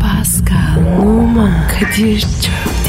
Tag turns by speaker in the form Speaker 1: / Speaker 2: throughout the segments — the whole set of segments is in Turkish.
Speaker 1: Pascal, Oman, Kadir çok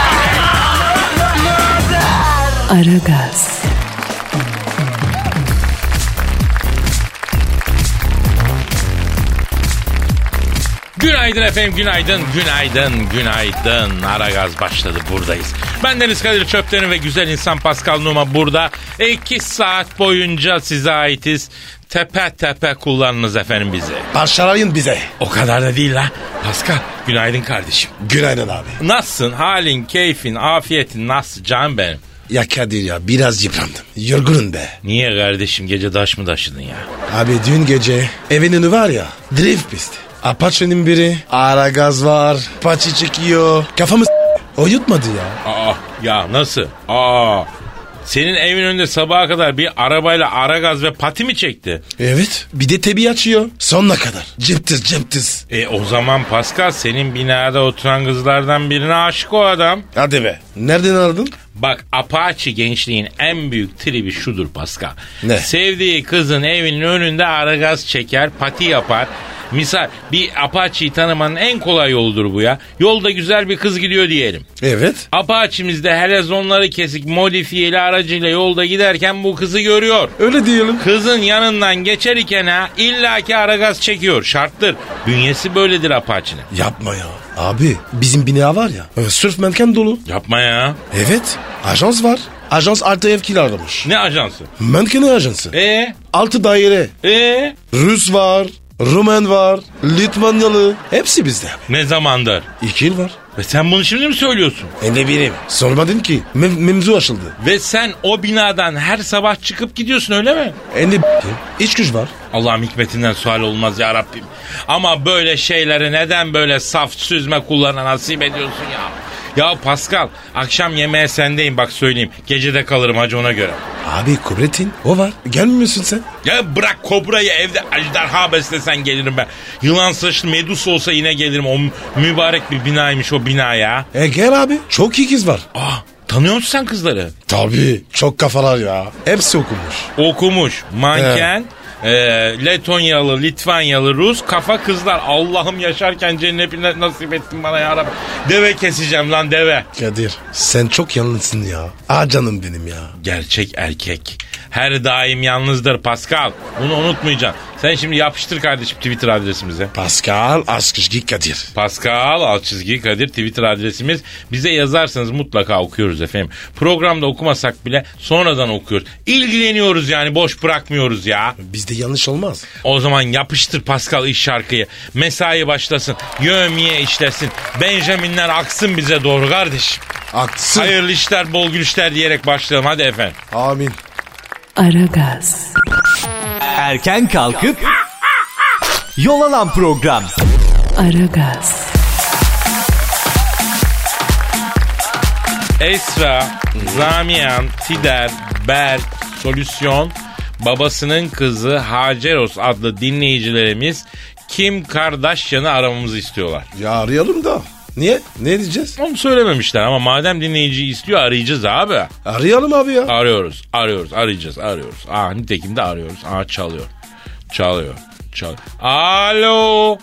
Speaker 1: Aragaz,
Speaker 2: Günaydın efendim, günaydın, günaydın, günaydın. Ara gaz başladı, buradayız. Ben Deniz Kadir Çöpten ve güzel insan Pascal Numa burada. İki saat boyunca size aitiz. Tepe tepe kullanınız efendim bizi.
Speaker 3: Parçalayın bize.
Speaker 2: O kadar da değil la. Pascal, günaydın kardeşim.
Speaker 3: Günaydın abi.
Speaker 2: Nasılsın, halin, keyfin, afiyetin nasıl canım benim?
Speaker 3: Ya Kadir ya biraz yıprandım. Yorgunum be.
Speaker 2: Niye kardeşim gece taş mı taşıdın ya?
Speaker 3: Abi dün gece evin önü var ya. Drift pisti. Apache'nin biri. Ara gaz var. Paçı çekiyor. Kafamı s- O yutmadı ya.
Speaker 2: Aa ya nasıl? Aa senin evin önünde sabaha kadar bir arabayla ara gaz ve pati mi çekti?
Speaker 3: Evet. Bir de tebi açıyor. Sonuna kadar. Cıptız cıptız.
Speaker 2: E o zaman Pascal senin binada oturan kızlardan birine aşık o adam.
Speaker 3: Hadi be. Nereden aradın?
Speaker 2: Bak Apache gençliğin en büyük tribi şudur Pascal.
Speaker 3: Ne?
Speaker 2: Sevdiği kızın evinin önünde aragaz çeker, pati yapar. Misal bir Apache'yi tanımanın en kolay yoludur bu ya. Yolda güzel bir kız gidiyor diyelim.
Speaker 3: Evet.
Speaker 2: Apache'miz de helezonları kesik modifiyeli aracıyla yolda giderken bu kızı görüyor.
Speaker 3: Öyle diyelim.
Speaker 2: Kızın yanından geçer iken ha illaki aragaz çekiyor. Şarttır. Bünyesi böyledir Apache'nin.
Speaker 3: Yapma ya. Abi bizim bina var ya. e, Sırf menken dolu.
Speaker 2: Yapma ya.
Speaker 3: Evet. Ajans var. Ajans artı ev kiralamış.
Speaker 2: Ne ajansı?
Speaker 3: Menkene ajansı.
Speaker 2: E
Speaker 3: Altı daire.
Speaker 2: e
Speaker 3: Rus var. Rumen var. Litvanyalı. Hepsi bizde. abi.
Speaker 2: ne zamandır?
Speaker 3: İki yıl var.
Speaker 2: Ve sen bunu şimdi mi söylüyorsun?
Speaker 3: E ne bileyim. Sormadın ki. Mem- mevzu açıldı.
Speaker 2: Ve sen o binadan her sabah çıkıp gidiyorsun öyle mi?
Speaker 3: E ne b- İç güç var.
Speaker 2: Allah'ım hikmetinden sual olmaz ya Rabbim. Ama böyle şeyleri neden böyle saf süzme kullana nasip ediyorsun ya? Ya Pascal akşam yemeğe sendeyim bak söyleyeyim. Gecede kalırım hacı ona göre.
Speaker 3: Abi Kubrettin o var. Gelmiyorsun sen.
Speaker 2: Ya bırak kobrayı evde ajdarha beslesen gelirim ben. Yılan saçlı medusa olsa yine gelirim. O mü- mübarek bir binaymış o bina ya.
Speaker 3: E gel abi. Çok iyi kız var.
Speaker 2: Aa, tanıyor musun sen kızları?
Speaker 3: Tabii. Çok kafalar ya. Hepsi okumuş.
Speaker 2: Okumuş, manken, e, Letonyalı, Litvanyalı, Rus, kafa kızlar. Allah'ım yaşarken cennetine nasip ettin bana ya Rabbi. Deve keseceğim lan deve.
Speaker 3: Kadir sen çok yalnızsın ya. Ah canım benim ya.
Speaker 2: Gerçek erkek. Her daim yalnızdır Pascal. Bunu unutmayacaksın. Sen şimdi yapıştır kardeşim Twitter adresimize.
Speaker 3: Pascal Askışgi Kadir.
Speaker 2: Pascal alt çizgi Kadir Twitter adresimiz. Bize yazarsanız mutlaka okuyoruz efendim. Programda okumasak bile sonradan okuyoruz. İlgileniyoruz yani boş bırakmıyoruz ya.
Speaker 3: Bizde yanlış olmaz.
Speaker 2: O zaman yapıştır Pascal iş şarkıyı. Mesai başlasın. Yövmiye işlesin. Benjaminler aksın bize doğru kardeşim.
Speaker 3: Haklısın.
Speaker 2: Hayırlı işler bol gülüşler diyerek başlayalım hadi efendim.
Speaker 3: Amin.
Speaker 1: Aragaz,
Speaker 4: Erken kalkıp yol alan program.
Speaker 1: Aragaz,
Speaker 2: Esra, Zamiyan, Tider, Berk, Solüsyon, babasının kızı Haceros adlı dinleyicilerimiz Kim Kardashian'ı aramamızı istiyorlar.
Speaker 3: Ya arayalım da. Niye? Ne diyeceğiz?
Speaker 2: Onu söylememişler ama madem dinleyici istiyor arayacağız abi.
Speaker 3: Arayalım abi ya.
Speaker 2: Arıyoruz, arıyoruz, arayacağız, arıyoruz. Aa nitekim de arıyoruz. Aa çalıyor, çalıyor, çalıyor. Alo,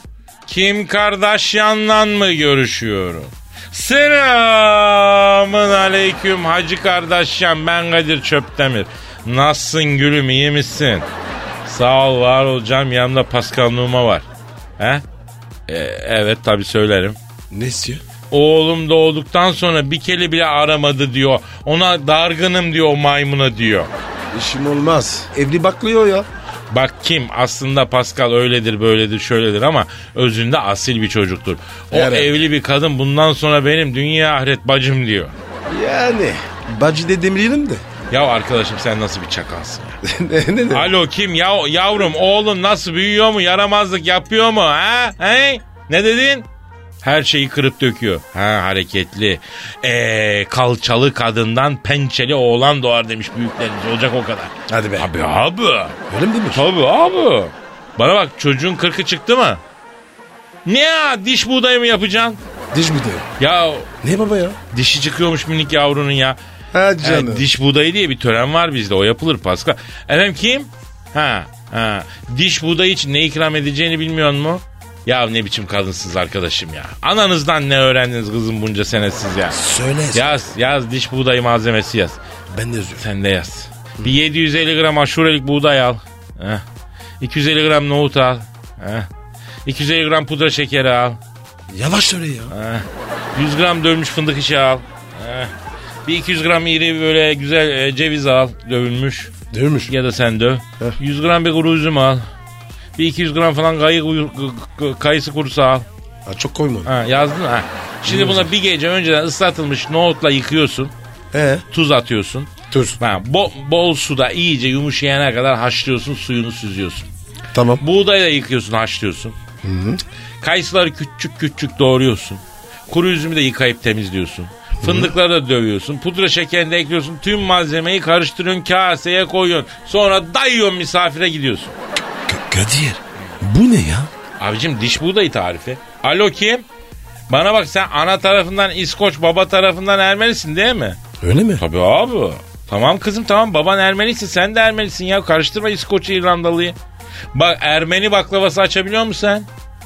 Speaker 2: Kim Kardashian'la mı görüşüyorum? Selamın aleyküm Hacı Kardashian ben Kadir Çöptemir. Nasılsın gülüm iyi misin? Sağ ol var olacağım yanımda Pascal Numa var. He? E, evet tabi söylerim.
Speaker 3: Ne istiyor?
Speaker 2: Oğlum doğduktan sonra bir kere bile aramadı diyor. Ona dargınım diyor o maymuna diyor.
Speaker 3: İşim olmaz. Evli baklıyor ya.
Speaker 2: Bak kim aslında Pascal öyledir böyledir şöyledir ama özünde asil bir çocuktur. O
Speaker 3: Evet.
Speaker 2: evli bir kadın bundan sonra benim dünya ahiret bacım diyor.
Speaker 3: Yani. Bacı de demeyelim de.
Speaker 2: Ya arkadaşım sen nasıl bir çakalsın ya.
Speaker 3: ne, ne, ne?
Speaker 2: Alo kim ya yavrum oğlun nasıl büyüyor mu yaramazlık yapıyor mu ha? He? Ne dedin? Her şeyi kırıp döküyor. Ha hareketli. Ee, kalçalı kadından pençeli oğlan doğar demiş büyüklerimiz. Olacak o kadar.
Speaker 3: Hadi be.
Speaker 2: Abi abi.
Speaker 3: Öyle mi demiş?
Speaker 2: Tabii abi. Bana bak çocuğun kırkı çıktı mı? Ne ya diş buğdayı mı yapacaksın?
Speaker 3: Diş mi diyor?
Speaker 2: Ya
Speaker 3: Ne baba ya?
Speaker 2: dişi çıkıyormuş minik yavrunun ya.
Speaker 3: Ha
Speaker 2: E, diş buğdayı diye bir tören var bizde o yapılır Pascal. Efendim kim? Ha, ha. Diş buğdayı için ne ikram edeceğini bilmiyor mu? Ya ne biçim kadınsınız arkadaşım ya. Ananızdan ne öğrendiniz kızım bunca senesiz ya.
Speaker 3: Söyle.
Speaker 2: Yaz yaz diş buğdayı malzemesi yaz.
Speaker 3: Ben de yazıyorum.
Speaker 2: Sen de yaz. Bir 750 gram aşurelik buğday al. Heh. 250 gram nohut al. Heh. 250 gram pudra şekeri al.
Speaker 3: Yavaş söyle ya.
Speaker 2: Heh. 100 gram dövülmüş fındık işi al. Heh. Bir 200 gram iri böyle güzel e, ceviz al dövülmüş.
Speaker 3: Dövmüş.
Speaker 2: Ya da sen döv. 100 gram bir kuru üzüm al. Bir 200 gram falan kayı, kuyu- k- k- kayısı kurusu al.
Speaker 3: Ha, çok koyma.
Speaker 2: Ha, yazdın mı? ha. Şimdi buna bir gece önceden ıslatılmış nohutla yıkıyorsun.
Speaker 3: He.
Speaker 2: Tuz atıyorsun.
Speaker 3: Dur.
Speaker 2: Ha, bo- bol suda iyice yumuşayana kadar haşlıyorsun suyunu süzüyorsun.
Speaker 3: Tamam.
Speaker 2: Buğdayla yıkıyorsun haşlıyorsun. Kayısıları küçük küçük doğruyorsun. Kuru üzümü de yıkayıp temizliyorsun. Fındıkları da dövüyorsun. Pudra şekerini de ekliyorsun. Tüm malzemeyi karıştırıyorsun kaseye koyuyorsun. Sonra dayıyorsun misafire gidiyorsun.
Speaker 3: K- Kadir. Bu ne ya?
Speaker 2: Abicim diş buğdayı tarifi. Alo kim? Bana bak sen ana tarafından İskoç baba tarafından Ermenisin değil mi?
Speaker 3: Öyle mi?
Speaker 2: Tabii abi. Tamam kızım tamam baban Ermenisi sen de Ermenisin ya karıştırma İskoç'u İrlandalı'yı. Bak Ermeni baklavası açabiliyor musun sen?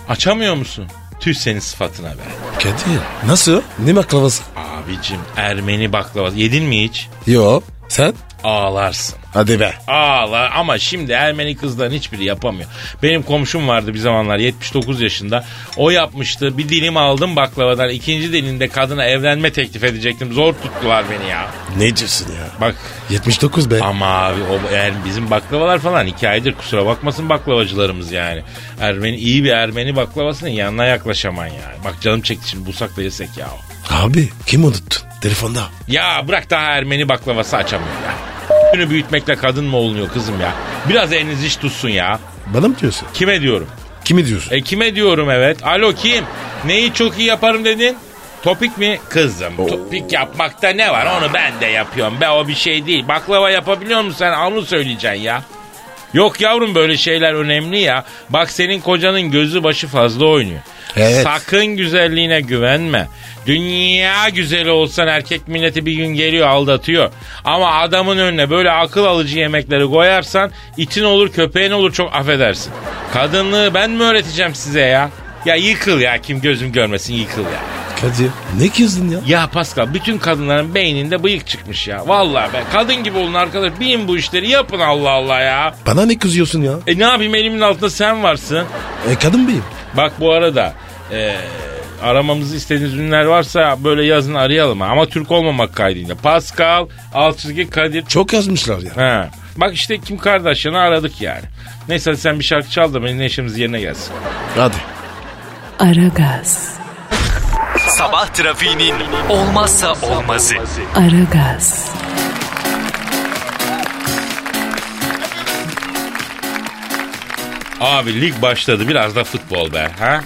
Speaker 2: Açamıyor musun? Tüh senin sıfatına be.
Speaker 3: Kadir. Nasıl? Ne baklavası?
Speaker 2: Abicim Ermeni baklavası yedin mi hiç?
Speaker 3: Yo. Sen?
Speaker 2: Ağlarsın.
Speaker 3: Hadi be.
Speaker 2: Ağlar ama şimdi Ermeni kızların hiçbiri yapamıyor. Benim komşum vardı bir zamanlar 79 yaşında. O yapmıştı bir dilim aldım baklavadan ikinci dilinde kadına evlenme teklif edecektim. Zor tuttular beni ya.
Speaker 3: Ne diyorsun ya?
Speaker 2: Bak
Speaker 3: 79 be.
Speaker 2: Ama abi o yani bizim baklavalar falan iki aydır kusura bakmasın baklavacılarımız yani. Ermeni iyi bir Ermeni baklavasının yanına yaklaşaman yani. Bak canım çekti şimdi bulsak da yesek ya.
Speaker 3: Abi kim unuttun? Telefonda.
Speaker 2: Ya bırak daha Ermeni baklavası açamıyor ya. Günü büyütmekle kadın mı olunuyor kızım ya? Biraz eliniz iş tutsun ya.
Speaker 3: Bana mı diyorsun?
Speaker 2: Kime diyorum?
Speaker 3: Kimi diyorsun?
Speaker 2: E kime diyorum evet? Alo kim? Neyi çok iyi yaparım dedin? Topik mi? Kızım topik yapmakta ne var onu ben de yapıyorum. Be o bir şey değil. Baklava yapabiliyor musun sen? Onu söyleyeceksin ya. Yok yavrum böyle şeyler önemli ya. Bak senin kocanın gözü başı fazla oynuyor.
Speaker 3: Evet.
Speaker 2: Sakın güzelliğine güvenme. Dünya güzeli olsan erkek milleti bir gün geliyor aldatıyor. Ama adamın önüne böyle akıl alıcı yemekleri koyarsan itin olur köpeğin olur çok affedersin. Kadınlığı ben mi öğreteceğim size ya? Ya yıkıl ya kim gözüm görmesin yıkıl ya.
Speaker 3: E, Kadir. Ne kızdın ya?
Speaker 2: Ya Pascal bütün kadınların beyninde bıyık çıkmış ya. Vallahi be kadın gibi olun arkadaş bilin bu işleri yapın Allah Allah ya.
Speaker 3: Bana ne kızıyorsun ya?
Speaker 2: E ne yapayım elimin altında sen varsın.
Speaker 3: E, kadın mıyım?
Speaker 2: Bak bu arada e, aramamızı istediğiniz ünler varsa böyle yazın arayalım ha. ama Türk olmamak kaydıyla. Pascal alt çizgi Kadir.
Speaker 3: Çok yazmışlar ya.
Speaker 2: Ha. Bak işte Kim Kardashian'ı aradık yani. Neyse hadi sen bir şarkı çal da benim neşemiz yerine gelsin.
Speaker 3: Hadi.
Speaker 1: Aragaz,
Speaker 4: Sabah trafiğinin olmazsa olmazı.
Speaker 1: Aragaz,
Speaker 2: Abi lig başladı biraz da futbol be. Ha?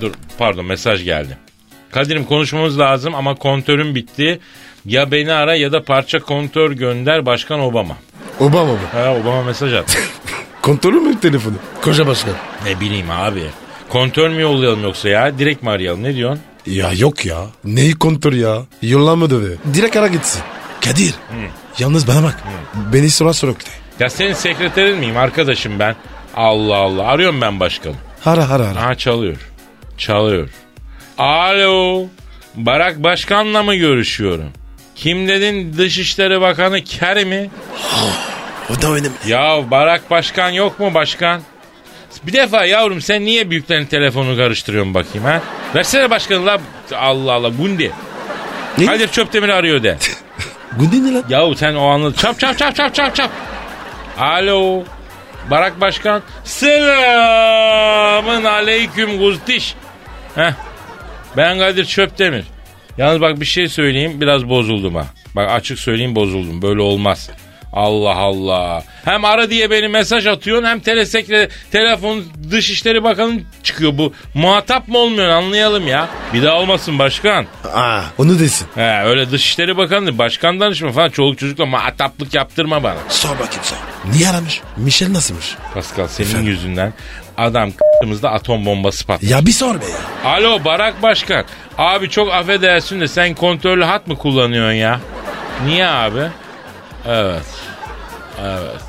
Speaker 2: Dur pardon mesaj geldi. Kadir'im konuşmamız lazım ama kontörüm bitti. Ya beni ara ya da parça kontör gönder Başkan Obama.
Speaker 3: Obama mı?
Speaker 2: Ha Obama mesaj at.
Speaker 3: Kontrolü mü telefonu? Koca başkan.
Speaker 2: Ne bileyim abi. Kontör mü yollayalım yoksa ya? Direkt mi arayalım? Ne diyorsun?
Speaker 3: Ya yok ya. Neyi kontrol ya? Yollamadı be. Direkt ara gitsin. Kadir. Yalnız bana bak. Beni sonra sorak de.
Speaker 2: Ya senin sekreterin miyim arkadaşım ben? Allah Allah. Arıyorum ben başkanım.
Speaker 3: Ara ara ara.
Speaker 2: Ha çalıyor. Çalıyor. Alo. Barak Başkan'la mı görüşüyorum? Kim dedin Dışişleri Bakanı Kerry mi?
Speaker 3: O da önemli.
Speaker 2: Ya Barak Başkan yok mu başkan? Bir defa yavrum sen niye büyüklerin telefonunu karıştırıyorsun bakayım ha? Versene başkanı la. Allah Allah Gundi.
Speaker 3: Ne?
Speaker 2: Kadir Çöptemir arıyor de.
Speaker 3: Gündin ne lan?
Speaker 2: Yahu sen o anla çap çap çap çap çap çap. Alo. Barak Başkan. Selamın aleyküm Guzdiş. Heh. Ben Kadir Çöptemir. Yalnız bak bir şey söyleyeyim biraz bozuldum ha. Bak açık söyleyeyim bozuldum böyle olmaz. Allah Allah. Hem ara diye beni mesaj atıyorsun hem telesekre telefon Dışişleri Bakanı çıkıyor bu. Muhatap mı olmuyorsun anlayalım ya. Bir daha olmasın başkan.
Speaker 3: Aa, onu desin.
Speaker 2: He, öyle Dışişleri Bakanı başkan danışma falan çoluk çocukla muhataplık yaptırma bana.
Speaker 3: Sor bakayım sor. Niye aramış? Michel nasılmış?
Speaker 2: Pascal senin yüzünden adam k***mızda atom bombası patladı.
Speaker 3: Ya bir sor be ya.
Speaker 2: Alo Barak Başkan. Abi çok affedersin de sen kontrollü hat mı kullanıyorsun ya? Niye abi? Evet. Evet.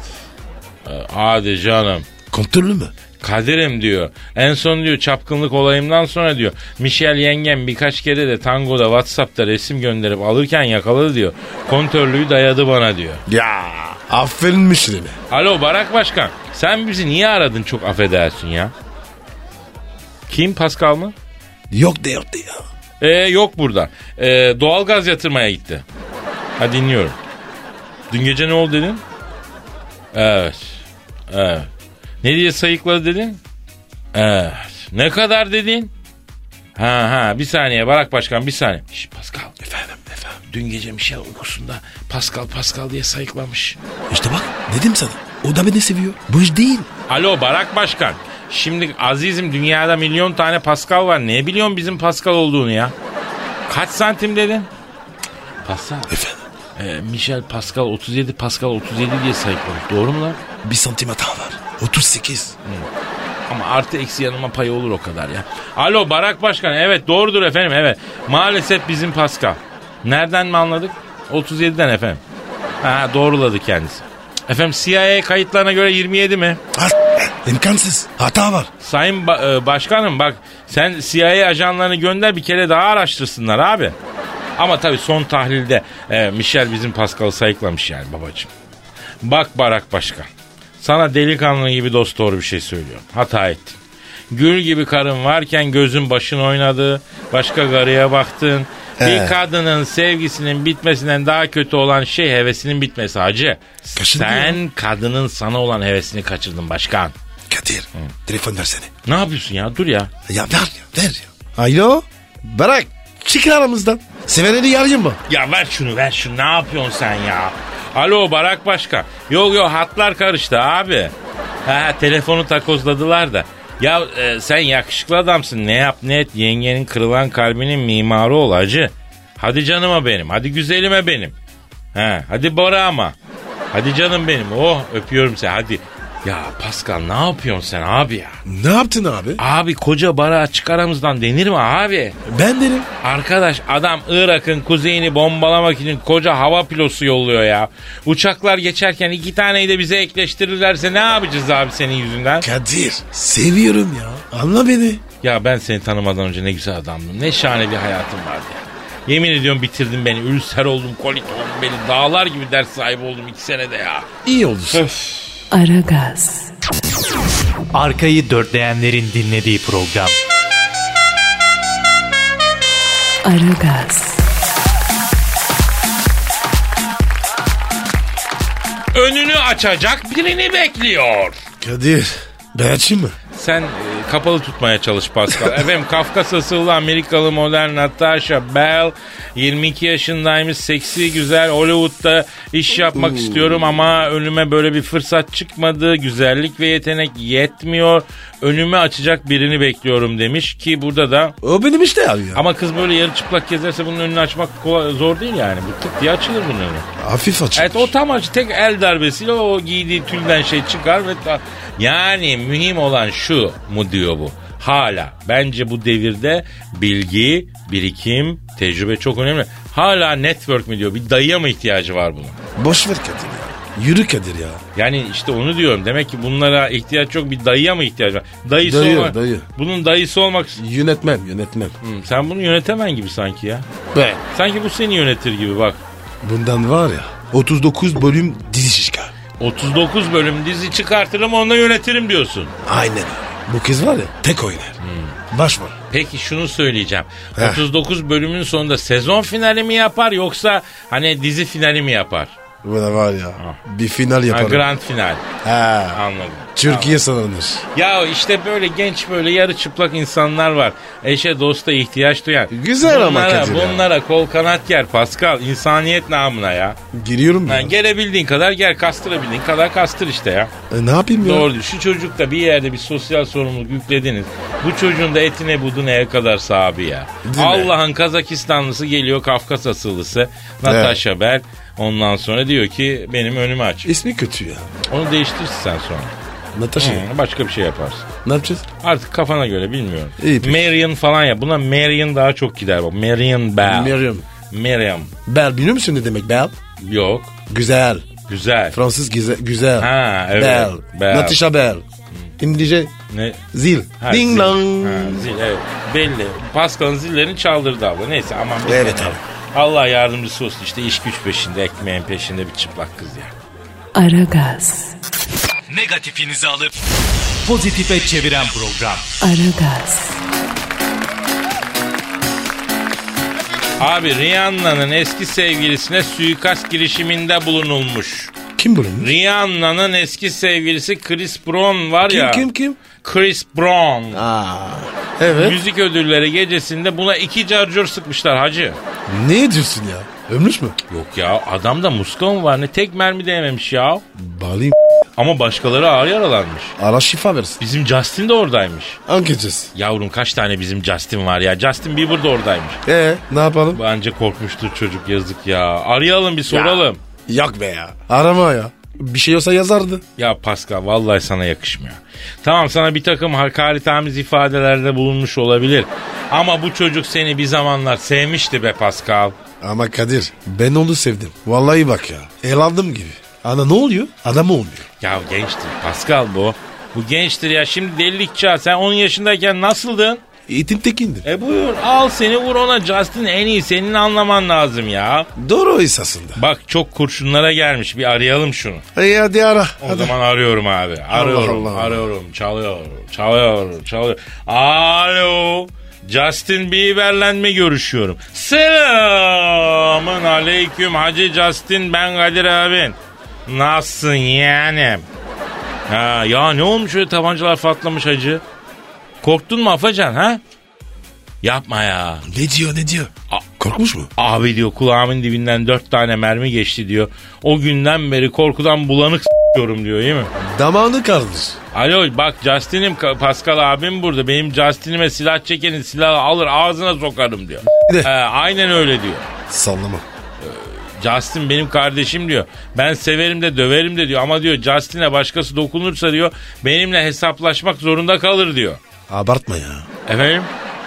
Speaker 2: Ee, Hadi canım.
Speaker 3: Kontrollü mü?
Speaker 2: Kadir'im diyor. En son diyor çapkınlık olayımdan sonra diyor. Michel yengem birkaç kere de tangoda Whatsapp'ta resim gönderip alırken yakaladı diyor. Kontörlüğü dayadı bana diyor.
Speaker 3: Ya. Aferin Michel'ime.
Speaker 2: Alo Barak Başkan. Sen bizi niye aradın çok affedersin ya? Kim Pascal mı?
Speaker 3: Yok de yok de ya.
Speaker 2: Ee, yok burada. Ee, doğalgaz yatırmaya gitti. Ha dinliyorum. Dün gece ne oldu dedin? Evet. Evet. Ne diye sayıkladı dedin? Evet. Ne kadar dedin? Ha ha bir saniye Barak Başkan bir saniye. Şş, Pascal. Efendim efendim. Dün gece Michel uykusunda Pascal Pascal diye sayıklamış.
Speaker 3: İşte bak dedim sana. O da beni seviyor. Bu iş değil.
Speaker 2: Alo Barak Başkan. Şimdi azizim dünyada milyon tane Pascal var. Ne biliyorsun bizim Pascal olduğunu ya? Kaç santim dedin? Pascal.
Speaker 3: Efendim
Speaker 2: Ee, Michel Pascal 37 Pascal 37 diye sayıklamış. Doğru mu lan?
Speaker 3: bir santim hata var. 38.
Speaker 2: Ama artı eksi yanıma payı olur o kadar ya. Alo Barak Başkan evet doğrudur efendim evet. Maalesef bizim Pascal. Nereden mi anladık? 37'den efendim. Ha doğruladı kendisi. Cık, Efendim CIA kayıtlarına göre 27 mi?
Speaker 3: Ha, imkansız. Hata var.
Speaker 2: Sayın ba- e, Başkanım bak sen CIA ajanlarını gönder bir kere daha araştırsınlar abi. Ama tabii son tahlilde e, Michel bizim Pascal'ı sayıklamış yani babacığım. Bak Barak Başkan. Sana delikanlı gibi dost doğru bir şey söylüyorum. Hata ettin. Gül gibi karın varken gözün başın oynadı. Başka karıya baktın.
Speaker 3: He.
Speaker 2: Bir kadının sevgisinin bitmesinden daha kötü olan şey hevesinin bitmesi hacı.
Speaker 3: Kaçırdı
Speaker 2: Sen kadının sana olan hevesini kaçırdın başkan.
Speaker 3: Kadir telefon versene.
Speaker 2: Ne yapıyorsun ya? Dur ya.
Speaker 3: Ya ver ya ver ya. Alo. Bırak. Çıkın aramızdan. Sevenleri yarayın mı?
Speaker 2: Ya ver şunu ver şunu. Ne yapıyorsun sen ya? Alo Barak Başkan. Yok yok hatlar karıştı abi. Ha, telefonu takozladılar da. Ya e, sen yakışıklı adamsın. Ne yap ne et. Yengenin kırılan kalbinin mimarı ol hacı. Hadi canıma benim. Hadi güzelime benim. Ha, hadi Bora ama. Hadi canım benim. Oh öpüyorum seni hadi. Ya Pascal ne yapıyorsun sen abi ya?
Speaker 3: Ne yaptın abi?
Speaker 2: Abi koca bara açık aramızdan denir mi abi?
Speaker 3: Ben derim.
Speaker 2: Arkadaş adam Irak'ın kuzeyini bombalamak için koca hava pilosu yolluyor ya. Uçaklar geçerken iki taneyi de bize ekleştirirlerse ne yapacağız abi senin yüzünden?
Speaker 3: Kadir seviyorum ya. Anla beni.
Speaker 2: Ya ben seni tanımadan önce ne güzel adamdım. Ne şahane bir hayatım vardı ya. Yemin ediyorum bitirdin beni. Ülser oldum, kolit oldum beni. Dağlar gibi ders sahibi oldum iki senede ya.
Speaker 3: İyi oldu.
Speaker 1: Aragaz,
Speaker 4: Arkayı dörtleyenlerin dinlediği program.
Speaker 1: Aragaz,
Speaker 2: Önünü açacak birini bekliyor.
Speaker 3: Kadir ben açayım mı?
Speaker 2: Sen e, kapalı tutmaya çalış Pascal. Efendim Kafkas asıllı Amerikalı modern Natasha Bell 22 yaşındaymış. Seksi güzel Hollywood'da iş yapmak istiyorum ama önüme böyle bir fırsat çıkmadı. Güzellik ve yetenek yetmiyor. Önümü açacak birini bekliyorum demiş ki burada da
Speaker 3: O benim işte abi ya.
Speaker 2: ama kız böyle yarı çıplak gezerse bunun önünü açmak kolay, zor değil yani. Bu tık diye açılır bunun önü.
Speaker 3: Hafif açık.
Speaker 2: Evet o tam acı tek el darbesiyle o giydiği tülden şey çıkar ve ta- yani mühim olan şu mu diyor bu. Hala bence bu devirde bilgi, birikim, tecrübe çok önemli. Hala network mi diyor bir dayıya mı ihtiyacı var bunun?
Speaker 3: Boş ver Kadir ya. Yürü Kadir ya.
Speaker 2: Yani işte onu diyorum. Demek ki bunlara ihtiyaç yok bir dayıya mı ihtiyacı var? Dayısı
Speaker 3: Dayı,
Speaker 2: olmak.
Speaker 3: dayı.
Speaker 2: Bunun dayısı olmak.
Speaker 3: Yönetmem yönetmem.
Speaker 2: Hmm, sen bunu yönetemen gibi sanki ya.
Speaker 3: Ben.
Speaker 2: Sanki bu seni yönetir gibi bak.
Speaker 3: Bundan var ya 39 bölüm dizi şişka.
Speaker 2: 39 bölüm dizi çıkartırım onunla yönetirim diyorsun.
Speaker 3: Aynen. Bu kız var ya tek oynar.
Speaker 2: Hmm.
Speaker 3: Baş var.
Speaker 2: Peki şunu söyleyeceğim.
Speaker 3: Heh.
Speaker 2: 39 bölümün sonunda sezon finali mi yapar yoksa hani dizi finali mi yapar?
Speaker 3: Bu da var ya. Bir final
Speaker 2: Ah. Ha,
Speaker 3: yaparım.
Speaker 2: grand final.
Speaker 3: Ha.
Speaker 2: Anladım.
Speaker 3: Türkiye sanılır.
Speaker 2: Ya işte böyle genç böyle yarı çıplak insanlar var. Eşe dosta ihtiyaç duyan.
Speaker 3: Güzel ama
Speaker 2: bunlara,
Speaker 3: Kadir ya.
Speaker 2: Bunlara kol kanat ger Pascal. insaniyet namına ya.
Speaker 3: Giriyorum
Speaker 2: Ha,
Speaker 3: ben.
Speaker 2: gelebildiğin kadar gel kastırabildiğin kadar kastır işte ya.
Speaker 3: E, ne yapayım ya?
Speaker 2: Doğru diyor. Şu çocukta bir yerde bir sosyal sorumluluk yüklediniz. Bu çocuğun da etine buduneye kadar sahibi ya.
Speaker 3: Değil mi?
Speaker 2: Allah'ın Kazakistanlısı geliyor Kafkas asıllısı. Natasha Bell. Ondan sonra diyor ki benim önümü aç.
Speaker 3: İsmi kötü ya.
Speaker 2: Onu değiştirsin sen sonra.
Speaker 3: Natasha.
Speaker 2: Hı, başka bir şey yaparsın.
Speaker 3: Ne yapacağız?
Speaker 2: Artık kafana göre bilmiyorum.
Speaker 3: İyi peki.
Speaker 2: Marion falan ya. Buna Marion daha çok gider bak. Marion Bell.
Speaker 3: Meryem.
Speaker 2: Marion.
Speaker 3: Bel biliyor musun ne demek bel?
Speaker 2: Yok.
Speaker 3: Güzel.
Speaker 2: Güzel.
Speaker 3: Fransız güze- güzel.
Speaker 2: Ha, evet.
Speaker 3: Bel.
Speaker 2: Bel.
Speaker 3: Natasha Bel. İngilizce
Speaker 2: ne?
Speaker 3: zil.
Speaker 2: Ha,
Speaker 3: Ding
Speaker 2: zil.
Speaker 3: dong.
Speaker 2: Ha, zil, evet. Belli. Pascal'ın zillerini çaldırdı abla. Neyse aman. biz
Speaker 3: Evet
Speaker 2: de-
Speaker 3: abi.
Speaker 2: Allah yardımcısı olsun işte iş güç peşinde ekmeğin peşinde bir çıplak kız ya.
Speaker 1: Aragaz,
Speaker 4: Negatifinizi alıp pozitife çeviren program.
Speaker 1: Aragaz,
Speaker 2: Abi Rihanna'nın eski sevgilisine suikast girişiminde bulunulmuş.
Speaker 3: Kim bulunmuş?
Speaker 2: Rihanna'nın eski sevgilisi Chris Brown var
Speaker 3: Kim
Speaker 2: ya.
Speaker 3: kim kim?
Speaker 2: Chris Brown.
Speaker 3: Aa, evet.
Speaker 2: Müzik ödülleri gecesinde buna iki carcur sıkmışlar hacı.
Speaker 3: Ne diyorsun ya? Ölmüş mü?
Speaker 2: Yok ya adamda muska mı var ne tek mermi değmemiş ya.
Speaker 3: Bağlayayım.
Speaker 2: Ama başkaları ağır yaralanmış.
Speaker 3: Allah şifa versin.
Speaker 2: Bizim Justin de oradaymış.
Speaker 3: Ankeceğiz.
Speaker 2: Yavrum kaç tane bizim Justin var ya. Justin Bieber de oradaymış.
Speaker 3: Ee, ne yapalım?
Speaker 2: Bence korkmuştur çocuk yazık ya. Arayalım bir soralım.
Speaker 3: Yok be ya. Arama ya. Bir şey olsa yazardı.
Speaker 2: Ya, Pascal vallahi sana yakışmıyor. Tamam sana bir takım hakaretamiz ifadelerde bulunmuş olabilir. Ama bu çocuk seni bir zamanlar sevmişti be Pascal.
Speaker 3: Ama Kadir ben onu sevdim. Vallahi bak ya. El aldım gibi. Ana ne oluyor? Adam olmuyor.
Speaker 2: Ya gençtir Pascal bu. Bu gençtir ya şimdi delilik çağı. Sen 10 yaşındayken nasıldın?
Speaker 3: Eğitim tekindir.
Speaker 2: E buyur al seni vur ona Justin en iyi senin anlaman lazım ya.
Speaker 3: Doğru esasında.
Speaker 2: Bak çok kurşunlara gelmiş bir arayalım şunu.
Speaker 3: E hadi ara.
Speaker 2: O
Speaker 3: hadi.
Speaker 2: zaman arıyorum abi. Arıyorum,
Speaker 3: Allah.
Speaker 2: arıyorum. Çalıyor, çalıyor, çalıyor. Alo. Justin Bieber'le mi görüşüyorum? Selamın aleyküm Hacı Justin ben Kadir abin. Nasılsın yeğenim? Ha, ya ne olmuş öyle tabancalar patlamış hacı? Korktun mu Afacan ha? Yapma ya.
Speaker 3: Ne diyor ne diyor?
Speaker 2: A-
Speaker 3: Korkmuş mu?
Speaker 2: Abi diyor kulağımın dibinden dört tane mermi geçti diyor. O günden beri korkudan bulanık s**yorum diyor değil mi?
Speaker 3: Damağını kardır.
Speaker 2: Alo bak Justin'im Ka- Pascal abim burada. Benim Justin'ime silah çekenin silahı alır ağzına sokarım diyor.
Speaker 3: De.
Speaker 2: Ee, aynen öyle diyor.
Speaker 3: Sallama.
Speaker 2: Justin benim kardeşim diyor. Ben severim de döverim de diyor. Ama diyor Justin'e başkası dokunursa diyor benimle hesaplaşmak zorunda kalır diyor.
Speaker 3: Abartma ya.
Speaker 2: Efendim?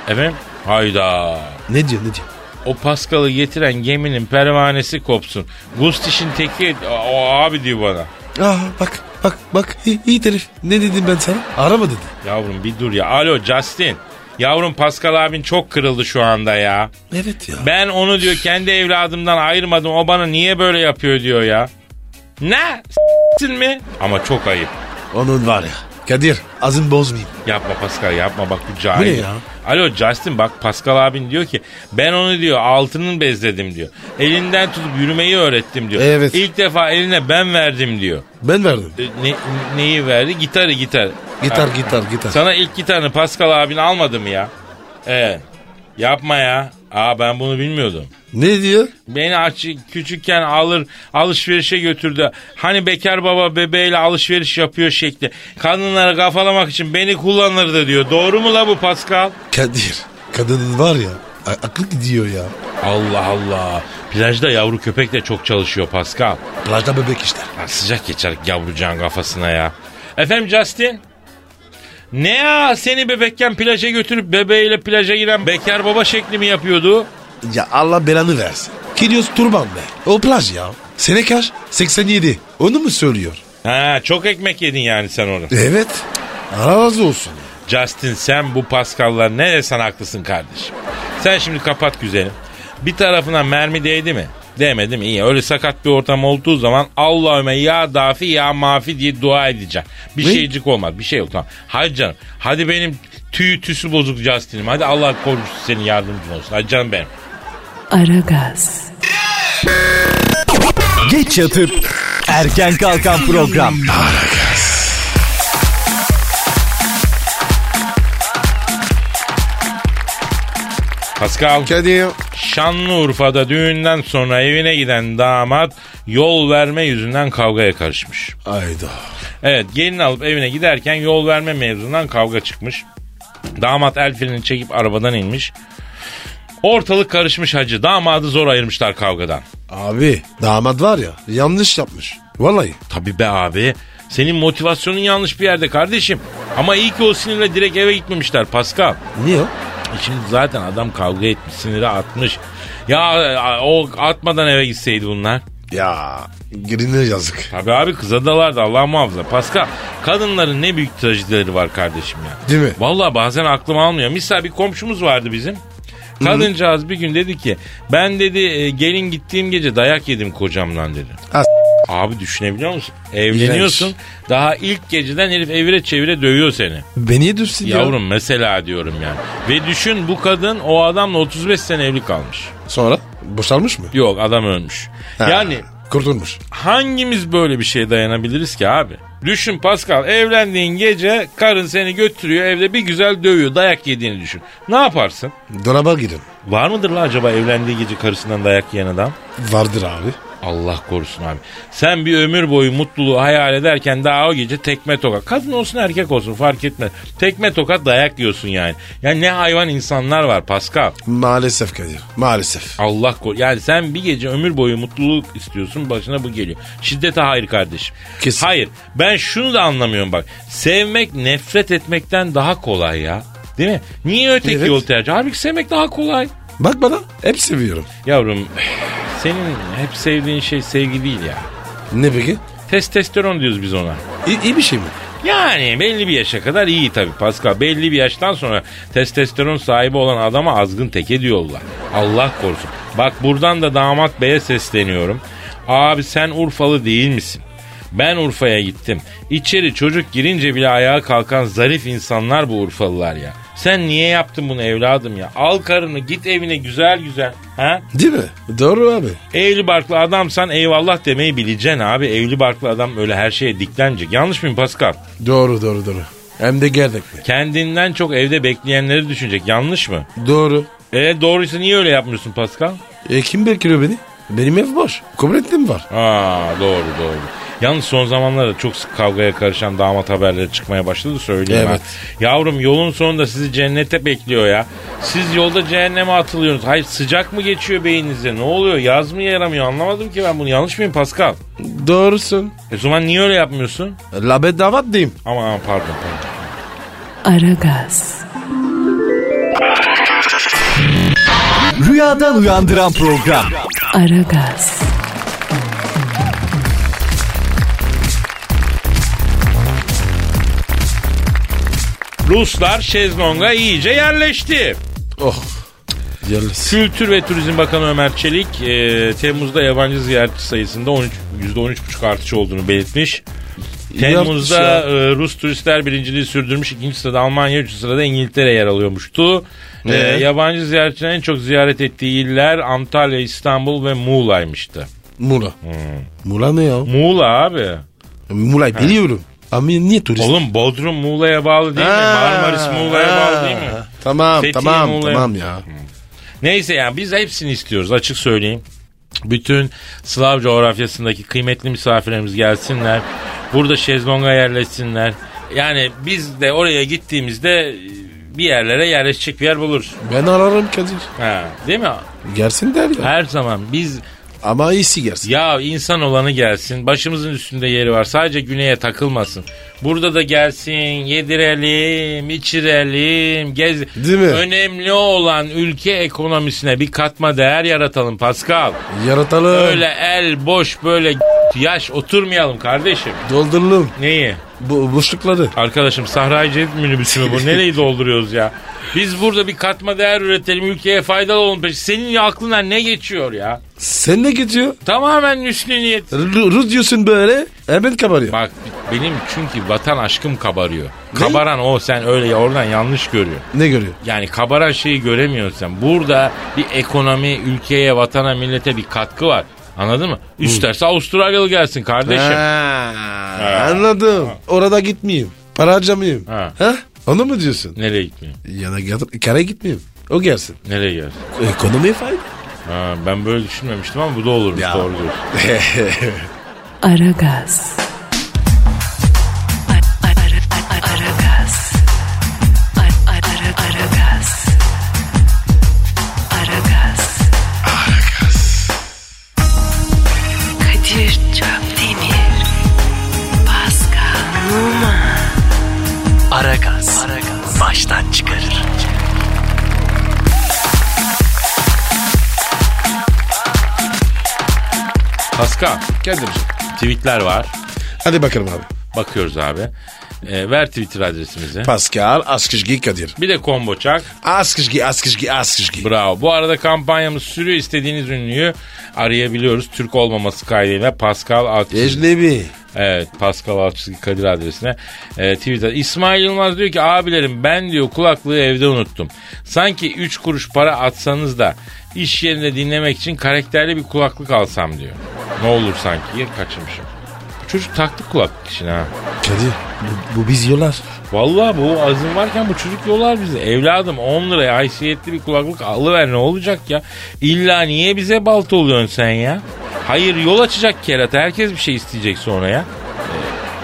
Speaker 2: Efendim? Hayda.
Speaker 3: Ne diyor ne diyor?
Speaker 2: O Pascal'ı getiren geminin pervanesi kopsun. Gustiş'in teki o abi diyor bana.
Speaker 3: Aa Ah, bak bak bak iyi, iyi herif. Ne dedim ben sana? Arama dedi.
Speaker 2: Yavrum bir dur ya. Alo Justin. Yavrum Pascal abin çok kırıldı şu anda ya.
Speaker 3: Evet ya.
Speaker 2: Ben onu diyor kendi evladımdan ayırmadım. O bana niye böyle yapıyor diyor ya. Ne? S**tin mi? Ama çok ayıp.
Speaker 3: Onun var ya. Kadir azın bozmayayım.
Speaker 2: Yapma Pascal yapma bak bu cahil.
Speaker 3: Bu ne ya?
Speaker 2: Alo Justin bak Pascal abin diyor ki ben onu diyor altının bezledim diyor. Elinden tutup yürümeyi öğrettim diyor.
Speaker 3: Evet.
Speaker 2: İlk defa eline ben verdim diyor.
Speaker 3: Ben verdim.
Speaker 2: E, Ne, neyi verdi? Gitarı gitar.
Speaker 3: Gitar
Speaker 2: Ha.
Speaker 3: gitar gitar.
Speaker 2: Sana ilk gitarını Pascal abin almadı mı ya? Ee, yapma ya. Aa ben bunu bilmiyordum.
Speaker 3: Ne diyor?
Speaker 2: Beni aç küçükken alır alışverişe götürdü. Hani bekar baba bebeğiyle alışveriş yapıyor şekli. Kadınları kafalamak için beni kullanırdı diyor. Doğru mu la bu Pascal?
Speaker 3: Kadir. Kadının var ya. a- aklı gidiyor ya.
Speaker 2: Allah Allah. Plajda yavru köpek de çok çalışıyor Pascal.
Speaker 3: Plajda bebek işte.
Speaker 2: Lan sıcak geçer yavrucağın kafasına ya. Efendim Justin? Ne ya seni bebekken plaja götürüp bebeğiyle plaja giren bekar baba şekli mi yapıyordu?
Speaker 3: Ya Allah belanı versin. Kilios Turban be. O plaj ya. Sene kaç? 87. Onu mu söylüyor?
Speaker 2: Ha çok ekmek yedin yani sen onu.
Speaker 3: Evet. Allah razı olsun.
Speaker 2: Justin sen bu Pascal'lar ne desen haklısın kardeşim. Sen şimdi kapat güzelim. Bir tarafına mermi değdi mi? Değmedi mi? İyi. Öyle sakat bir ortam olduğu zaman Allahümme ya dafi ya mafi diye dua edeceğim. Bir
Speaker 3: Ne?
Speaker 2: şeycik olmaz. Bir şey yok tamam. Hadi canım. Hadi benim tüyü tüsü bozuk Justin'im. Hadi Allah korusun senin yardımcın olsun. Hadi canım benim.
Speaker 1: Aragaz,
Speaker 4: Geç yatıp erken kalkan program.
Speaker 2: Pascal.
Speaker 3: Kadir.
Speaker 2: Şanlıurfa'da düğünden sonra evine giden damat yol verme yüzünden kavgaya karışmış.
Speaker 3: Ayda.
Speaker 2: Evet gelin alıp evine giderken yol verme mevzundan kavga çıkmış. Damat el frenini çekip arabadan inmiş. Ortalık karışmış hacı. Damadı zor ayırmışlar kavgadan.
Speaker 3: Abi damat var ya yanlış yapmış. Vallahi.
Speaker 2: Tabii be abi. Senin motivasyonun yanlış bir yerde kardeşim. Ama iyi ki o sinirle direkt eve gitmemişler Pascal.
Speaker 3: Niye o?
Speaker 2: E Şimdi zaten adam kavga etmiş, siniri atmış. Ya e, o atmadan eve gitseydi bunlar.
Speaker 3: Ya girine yazık.
Speaker 2: Tabii abi kıza dalardı Allah muhafaza. Pascal kadınların ne büyük trajedileri var kardeşim ya.
Speaker 3: Değil mi?
Speaker 2: Valla bazen aklım almıyor. Misal bir komşumuz vardı bizim. Kadıncağız bir gün dedi ki ben dedi e, gelin gittiğim gece dayak yedim kocamdan dedi.
Speaker 3: Ha, s-
Speaker 2: Abi düşünebiliyor musun? Evleniyorsun. Daha ilk geceden herif evire çevire dövüyor seni.
Speaker 3: Beni dursun ya.
Speaker 2: Yavrum mesela diyorum yani. Ve düşün bu kadın o adamla 35 sene evli kalmış.
Speaker 3: Sonra boşalmış mı?
Speaker 2: Yok adam ölmüş.
Speaker 3: Ha,
Speaker 2: Yani
Speaker 3: Kurtulmuş.
Speaker 2: hangimiz böyle bir şeye dayanabiliriz ki abi? Düşün Pascal evlendiğin gece karın seni götürüyor evde bir güzel dövüyor dayak yediğini düşün. Ne yaparsın?
Speaker 3: Dolaba girin.
Speaker 2: Var mıdır la acaba evlendiği gece karısından dayak yiyen adam?
Speaker 3: Vardır abi.
Speaker 2: Allah korusun abi. Sen bir ömür boyu mutluluğu hayal ederken daha o gece tekme tokat. Kadın olsun erkek olsun fark etmez. Tekme tokat dayak yiyorsun yani. Yani ne hayvan insanlar var Pascal.
Speaker 3: Maalesef Kadir. Maalesef.
Speaker 2: Allah kor. Yani sen bir gece ömür boyu mutluluk istiyorsun başına bu geliyor. Şiddete hayır kardeşim.
Speaker 3: Kesin.
Speaker 2: Hayır ben şunu da anlamıyorum bak. Sevmek nefret etmekten daha kolay ya. Değil mi? Niye öteki
Speaker 3: Evet.
Speaker 2: yol tercih? Halbuki sevmek daha kolay.
Speaker 3: Bak bana hep seviyorum.
Speaker 2: Yavrum senin hep sevdiğin şey sevgi değil ya.
Speaker 3: Ne peki?
Speaker 2: Testosteron diyoruz biz ona.
Speaker 3: İyi, iyi bir şey mi?
Speaker 2: Yani belli bir yaşa kadar iyi tabii Pascal. Belli bir yaştan sonra testosteron sahibi olan adama azgın teke diyorlar. Allah korusun. Bak buradan da damat beye sesleniyorum. Abi sen Urfalı değil misin? Ben Urfa'ya gittim. İçeri çocuk girince bile ayağa kalkan zarif insanlar bu Urfalılar ya. Sen niye yaptın bunu evladım ya? Al karını git evine güzel güzel. Ha?
Speaker 3: Değil mi? Doğru abi.
Speaker 2: Evli barklı adamsan eyvallah demeyi bileceksin abi. Evli barklı adam öyle her şeye diklenecek. Yanlış mıyım Pascal?
Speaker 3: Doğru doğru doğru. Hem de gerekli.
Speaker 2: Kendinden çok evde bekleyenleri düşünecek. Yanlış mı?
Speaker 3: Doğru.
Speaker 2: E doğruysa niye öyle yapmıyorsun Pascal?
Speaker 3: E kim bekliyor beni? Benim ev boş. Kubrettin var.
Speaker 2: Aa doğru doğru. Yalnız son zamanlarda çok sık kavgaya karışan damat haberleri çıkmaya başladı söyleyeyim
Speaker 3: Evet.
Speaker 2: ha. Yavrum yolun sonunda sizi cennete bekliyor ya. Siz yolda cehenneme atılıyorsunuz. Hayır sıcak mı geçiyor beyninize? Ne oluyor? Yaz mı yaramıyor? Anlamadım ki ben bunu. Yanlış mıyım Pascal?
Speaker 3: Doğrusun.
Speaker 2: E o zaman niye öyle yapmıyorsun?
Speaker 3: La bedava diyeyim.
Speaker 2: Ama ama pardon pardon.
Speaker 1: Aragaz,
Speaker 4: Rüyadan uyandıran program.
Speaker 1: Aragaz,
Speaker 2: Ruslar şezlonga iyice yerleşti.
Speaker 3: Oh. Yalnız.
Speaker 2: Kültür ve Turizm Bakanı Ömer Çelik e, Temmuz'da yabancı ziyaretçi sayısında 13 %13,5 artış olduğunu belirtmiş. Temmuz'da
Speaker 3: ya.
Speaker 2: e, Rus turistler birinciliği sürdürmüş. ikinci sırada Almanya, üçüncü sırada İngiltere yer alıyormuştu. E,
Speaker 3: Ee?
Speaker 2: yabancı ziyaretçilerin en çok ziyaret ettiği iller Antalya, İstanbul ve Muğla'ymıştı.
Speaker 3: Mula. Mula ne ya?
Speaker 2: Muğla abi.
Speaker 3: Mula'yı biliyorum. Ama niye turist?
Speaker 2: Oğlum Bodrum Muğla'ya bağlı değil mi?
Speaker 3: Ha,
Speaker 2: Marmaris Muğla'ya bağlı değil mi?
Speaker 3: ha. Tamam
Speaker 2: Fethiye,
Speaker 3: tamam
Speaker 2: Muğla'ya.
Speaker 3: tamam ya. Hmm.
Speaker 2: Neyse yani biz hepsini istiyoruz açık söyleyeyim. Bütün Slav coğrafyasındaki kıymetli misafirlerimiz gelsinler. Burada şezlonga yerleşsinler. Yani biz de oraya gittiğimizde e, bir yerlere yerleşecek bir yer buluruz.
Speaker 3: Ben ararım Kadir.
Speaker 2: Ha, değil mi?
Speaker 3: Gelsin der ya.
Speaker 2: Her zaman biz
Speaker 3: Ama iyisi gelsin.
Speaker 2: ya insan olanı gelsin. Başımızın üstünde yeri var. Sadece güneye takılmasın. Burada da gelsin. Yedirelim, içirelim, gez.
Speaker 3: Değil mi?
Speaker 2: Önemli olan ülke ekonomisine bir katma değer yaratalım Pascal.
Speaker 3: Yaratalım.
Speaker 2: Öyle el boş böyle yaş oturmayalım kardeşim.
Speaker 3: Dolduralım.
Speaker 2: Neyi?
Speaker 3: Bu boşlukları.
Speaker 2: Arkadaşım Sahra-i Cedid minibüsü mü bu? Nereyi dolduruyoruz ya? Biz burada bir katma değer üretelim, ülkeye faydalı olun. Peki senin aklından ne geçiyor ya?
Speaker 3: Sen ne gidiyor?
Speaker 2: Tamamen hüsnü niyet.
Speaker 3: Ru- Rus diyorsun böyle. Hemen kabarıyor.
Speaker 2: Bak benim çünkü vatan aşkım kabarıyor. Kabaran o sen öyle ya oradan yanlış görüyor.
Speaker 3: Ne görüyor?
Speaker 2: Yani kabaran şeyi göremiyorsun sen. Burada bir ekonomi, ülkeye, vatana, millete bir katkı var. Anladın mı? İsterse Avustralyalı gelsin kardeşim.
Speaker 3: Ha, anladım. Orada gitmeyeyim. Para harcamayayım.
Speaker 2: Ha.
Speaker 3: Ha? Onu mu diyorsun?
Speaker 2: Nereye gitmiyor?
Speaker 3: Ya da yatıp- kara gitmeyeyim. O gelsin. E,
Speaker 2: Nereye gelsin?
Speaker 3: Ekonomi fayda.
Speaker 2: Ha, ben böyle düşünmemiştim ama bu da olurmuş
Speaker 3: Ya.
Speaker 2: doğru diyorsun.
Speaker 1: Aragaz. Ar- ar- ar- ar- Aragaz. Ar- ar- ar- Aragaz. Aragaz. Kadir Çöpdemir. Pascal Numa.
Speaker 5: Aragaz. Baştan çıkarır.
Speaker 2: Pascal
Speaker 3: Kadir'cim.
Speaker 2: tweetler var.
Speaker 3: Hadi bakalım abi.
Speaker 2: Bakıyoruz abi. Ee, ver Twitter adresimizi.
Speaker 3: Pascal Askışgi Kadir.
Speaker 2: Bir de combo çak.
Speaker 3: Askışgi Askışgi Askışgi.
Speaker 2: Bravo. Bu arada kampanyamız sürüyor. İstediğiniz ünlüyü arayabiliyoruz. Türk olmaması kaydıyla Pascal Altçizgi.
Speaker 3: Ecnebi.
Speaker 2: Evet Pascal Altçizgi Kadir adresine e, Twitter. İsmail Yılmaz diyor ki abilerim ben diyor kulaklığı evde unuttum. Sanki 3 kuruş para atsanız da iş yerinde dinlemek için karakterli bir kulaklık alsam diyor. Ne olur sanki ya kaçırmışım. Bu Çocuk taktı kulaklık için ha.
Speaker 3: Kadir bu, bu biz yolar.
Speaker 2: Vallahi bu azim varken bu çocuk yollar bizi. Evladım 10 liraya haysiyetli bir kulaklık alıver ne olacak ya? İlla niye bize balta oluyorsun sen ya? Hayır yol açacak kerata herkes bir şey isteyecek sonra ya.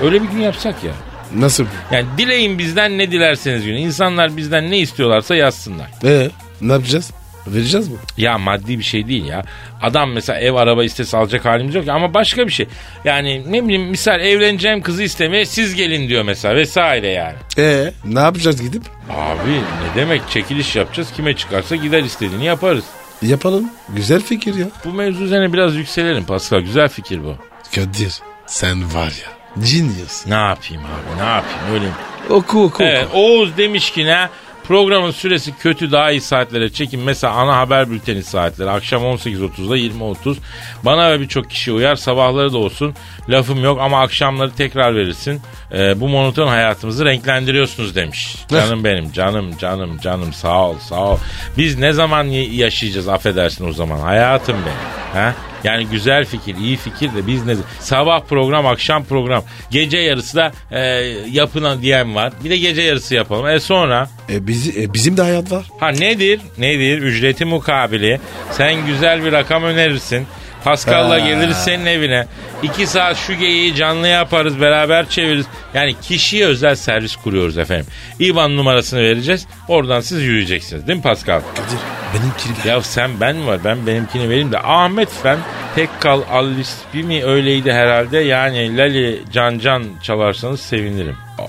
Speaker 2: Ee, Öyle bir gün yapsak ya.
Speaker 3: Nasıl?
Speaker 2: Yani dileyin bizden ne dilerseniz günü. İnsanlar bizden ne istiyorlarsa yazsınlar.
Speaker 3: Ee, ne yapacağız? Vereceğiz mi?
Speaker 2: Ya maddi bir şey değil ya. Adam mesela ev araba istese alacak halimiz yok ya. ama başka bir şey. Yani ne bileyim misal evleneceğim kızı istemeye siz gelin diyor mesela vesaire yani.
Speaker 3: Ee, ne yapacağız gidip?
Speaker 2: Abi ne demek çekiliş yapacağız kime çıkarsa gider istediğini yaparız.
Speaker 3: Yapalım. Güzel fikir ya.
Speaker 2: Bu mevzu üzerine biraz yükselelim Pascal güzel fikir bu.
Speaker 3: Kadir sen var ya. Genius.
Speaker 2: Ne yapayım abi ne yapayım öyle.
Speaker 3: Oku oku.
Speaker 2: Evet, Oğuz demiş ki ne? Programın süresi kötü daha iyi saatlere çekin. Mesela ana haber bülteni saatleri akşam 18.30'da 20.30. Bana ve birçok kişi uyar sabahları da olsun. Lafım yok ama akşamları tekrar verirsin. Ee, bu monoton hayatımızı renklendiriyorsunuz demiş. Canım benim canım canım canım sağ ol sağ ol. Biz ne zaman y- yaşayacağız affedersin o zaman hayatım benim. Ha? Yani güzel fikir, iyi fikir de biz ne... Sabah program, akşam program, gece yarısı da e, yapılan diyen var. Bir de gece yarısı yapalım. E sonra...
Speaker 3: E, bizi, e, bizim de hayat var.
Speaker 2: Ha nedir? Nedir? Ücreti mukabili. Sen güzel bir rakam önerirsin. Pascal'la geliriz senin evine. İki saat şu geyiği canlı yaparız. Beraber çeviririz. Yani kişiye özel servis kuruyoruz efendim. İBAN numarasını vereceğiz. Oradan siz yürüyeceksiniz. Değil mi Pascal?
Speaker 3: Kadir benimkini ver.
Speaker 2: Ya sen ben mi var? Ben benimkini vereyim de. Ahmet Fen, Pekkal Allisbi mi öyleydi herhalde? Yani Lali Can Can çalarsanız sevinirim. Aa,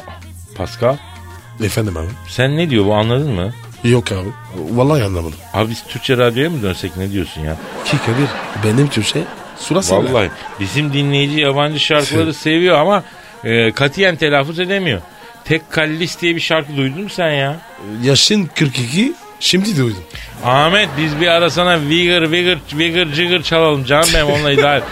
Speaker 2: Pascal
Speaker 3: Efendim abi.
Speaker 2: sen ne diyor bu anladın mı?
Speaker 3: Yok abi. Vallahi anlamadım.
Speaker 2: Abi biz Türkçe radyoya mı dönsek ne diyorsun ya?
Speaker 3: Ki Kadir benim Türkçe surasıyla.
Speaker 2: Vallahi bizim dinleyici yabancı şarkıları seviyor ama e, katiyen telaffuz edemiyor. Tek Kallis diye bir şarkı duydun mu sen ya?
Speaker 3: Yaşın 42 şimdi duydum.
Speaker 2: Ahmet biz bir ara sana Vigor Vigor Vigor Cigor çalalım canım benim onunla idare. Ba-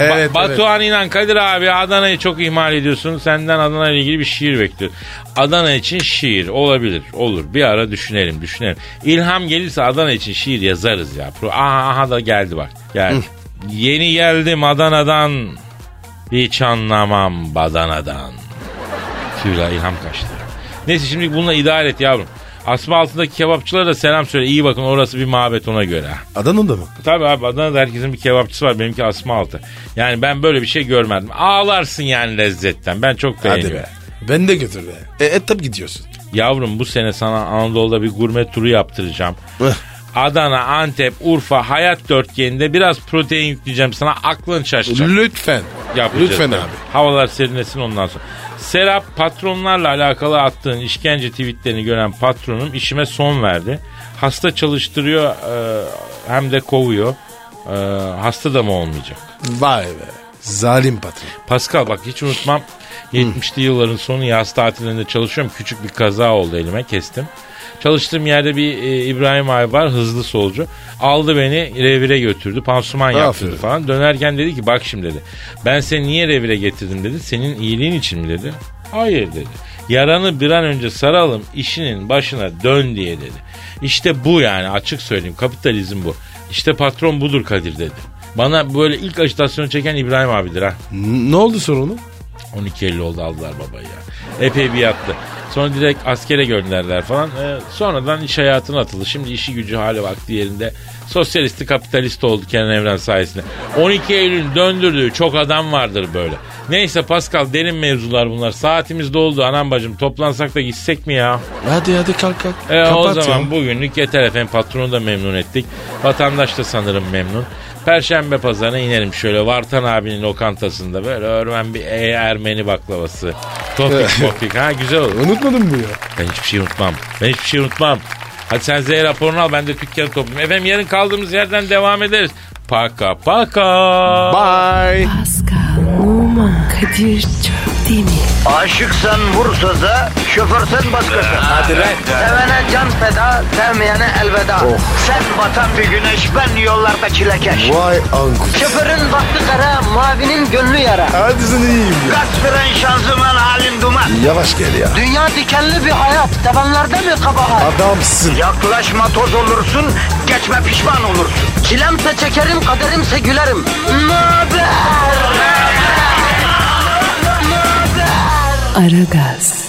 Speaker 3: Evet, evet.
Speaker 2: Batuhan İnan Kadir abi Adana'yı çok ihmal ediyorsun. Senden Adana ile ilgili bir şiir bekliyorum. Adana için şiir olabilir. Olur. Bir ara düşünelim düşünelim. İlham gelirse Adana için şiir yazarız ya. Pro- Aha aha da geldi bak. Geldi. Yeni geldim Adana'dan. Hiç anlamam badanadan. Tüyla ilham kaçtı. Neyse şimdi bununla idare et yavrum. Asma altındaki kebapçılara da selam söyle. İyi bakın orası bir mabet ona göre. ha.
Speaker 3: Adana'da mı?
Speaker 2: Tabii abi Adana'da herkesin bir kebapçısı var. Benimki asma altı. Yani ben böyle bir şey görmedim. Ağlarsın yani lezzetten. Ben çok beğeniyorum.
Speaker 3: Hadi be. Ben de götür be. E, e tabi gidiyorsun.
Speaker 2: Yavrum bu sene sana Anadolu'da bir gurme turu yaptıracağım.
Speaker 3: Hıh.
Speaker 2: Adana, Antep, Urfa, hayat dörtgeninde biraz protein yükleyeceğim sana. Aklın şaşacak.
Speaker 3: Lütfen.
Speaker 2: Yapacağız.
Speaker 3: Lütfen
Speaker 2: tabii.
Speaker 3: abi.
Speaker 2: Havalar serinlesin ondan sonra. Serap patronlarla alakalı attığın işkence tweetlerini gören patronum işime son verdi. Hasta çalıştırıyor e, hem de kovuyor. E, hasta da mı olmayacak?
Speaker 3: Vay be. Zalim patron.
Speaker 2: Pascal bak hiç unutmam 70'li yılların sonu yaz tatilinde çalışıyorum. Küçük bir kaza oldu elime kestim. Çalıştığım yerde bir e, İbrahim abi var hızlı solcu. Aldı beni revire götürdü. Pansuman yaptırdı
Speaker 3: Aferin.
Speaker 2: falan. Dönerken dedi ki bak şimdi dedi. Ben seni niye revire getirdim dedi. Senin iyiliğin için mi dedi. Hayır dedi. Yaranı bir an önce saralım işinin başına dön diye dedi. İşte bu yani açık söyleyeyim kapitalizm bu. İşte patron budur Kadir dedi. Bana böyle ilk agitasyonu çeken İbrahim abidir ha.
Speaker 3: N- ne oldu sorunu?
Speaker 2: 12.50 oldu aldılar babayı ya. Epey bir yattı. Sonra direkt askere gönderdiler falan. Ee, sonradan iş hayatına atıldı. Şimdi işi gücü hali vakti yerinde. Sosyalisti kapitalist oldu Kenan Evren sayesinde. 12 Eylül'ün döndürdüğü çok adam vardır böyle. Neyse Pascal derin mevzular bunlar. Saatimiz doldu anam bacım. Toplansak da gitsek mi ya?
Speaker 3: Hadi hadi kalk kalk.
Speaker 2: E, o
Speaker 3: Kapat
Speaker 2: zaman
Speaker 3: ya.
Speaker 2: bugünlük yeter efendim. Patronu da memnun ettik. Vatandaş da sanırım memnun. Perşembe pazarına inelim şöyle Vartan abinin lokantasında böyle örmen bir e, Ermeni baklavası. Topik topik ha güzel olur.
Speaker 3: Unutmadın mı ya?
Speaker 2: Ben hiçbir şey unutmam. Ben hiçbir şey unutmam. Hadi sen Z raporunu al ben de dükkanı toplayayım. Efendim yarın kaldığımız yerden devam ederiz. Paka paka.
Speaker 3: Bye.
Speaker 1: Pascal, Oman, Kadir çok değil mi?
Speaker 6: Aşıksan vursa da şoförsen başkasın. Hadi
Speaker 3: lan.
Speaker 6: Sevene can feda, sevmeyene elveda. Sen batan bir güneş, ben yollarda çilekeş.
Speaker 3: Vay anku.
Speaker 6: Şoförün baktı kara, mavinin gönlü yara.
Speaker 3: Hadi sen iyiyim ya.
Speaker 6: Kasperen şanzıman halin duman.
Speaker 3: Yavaş gel ya.
Speaker 6: Dünya dikenli bir hayat, sevenlerde mi kabahar?
Speaker 3: Adamsın.
Speaker 6: Yaklaşma toz olursun, geçme pişman olursun. Çilemse çekerim, kaderimse gülerim. Möber!
Speaker 1: Aragaz.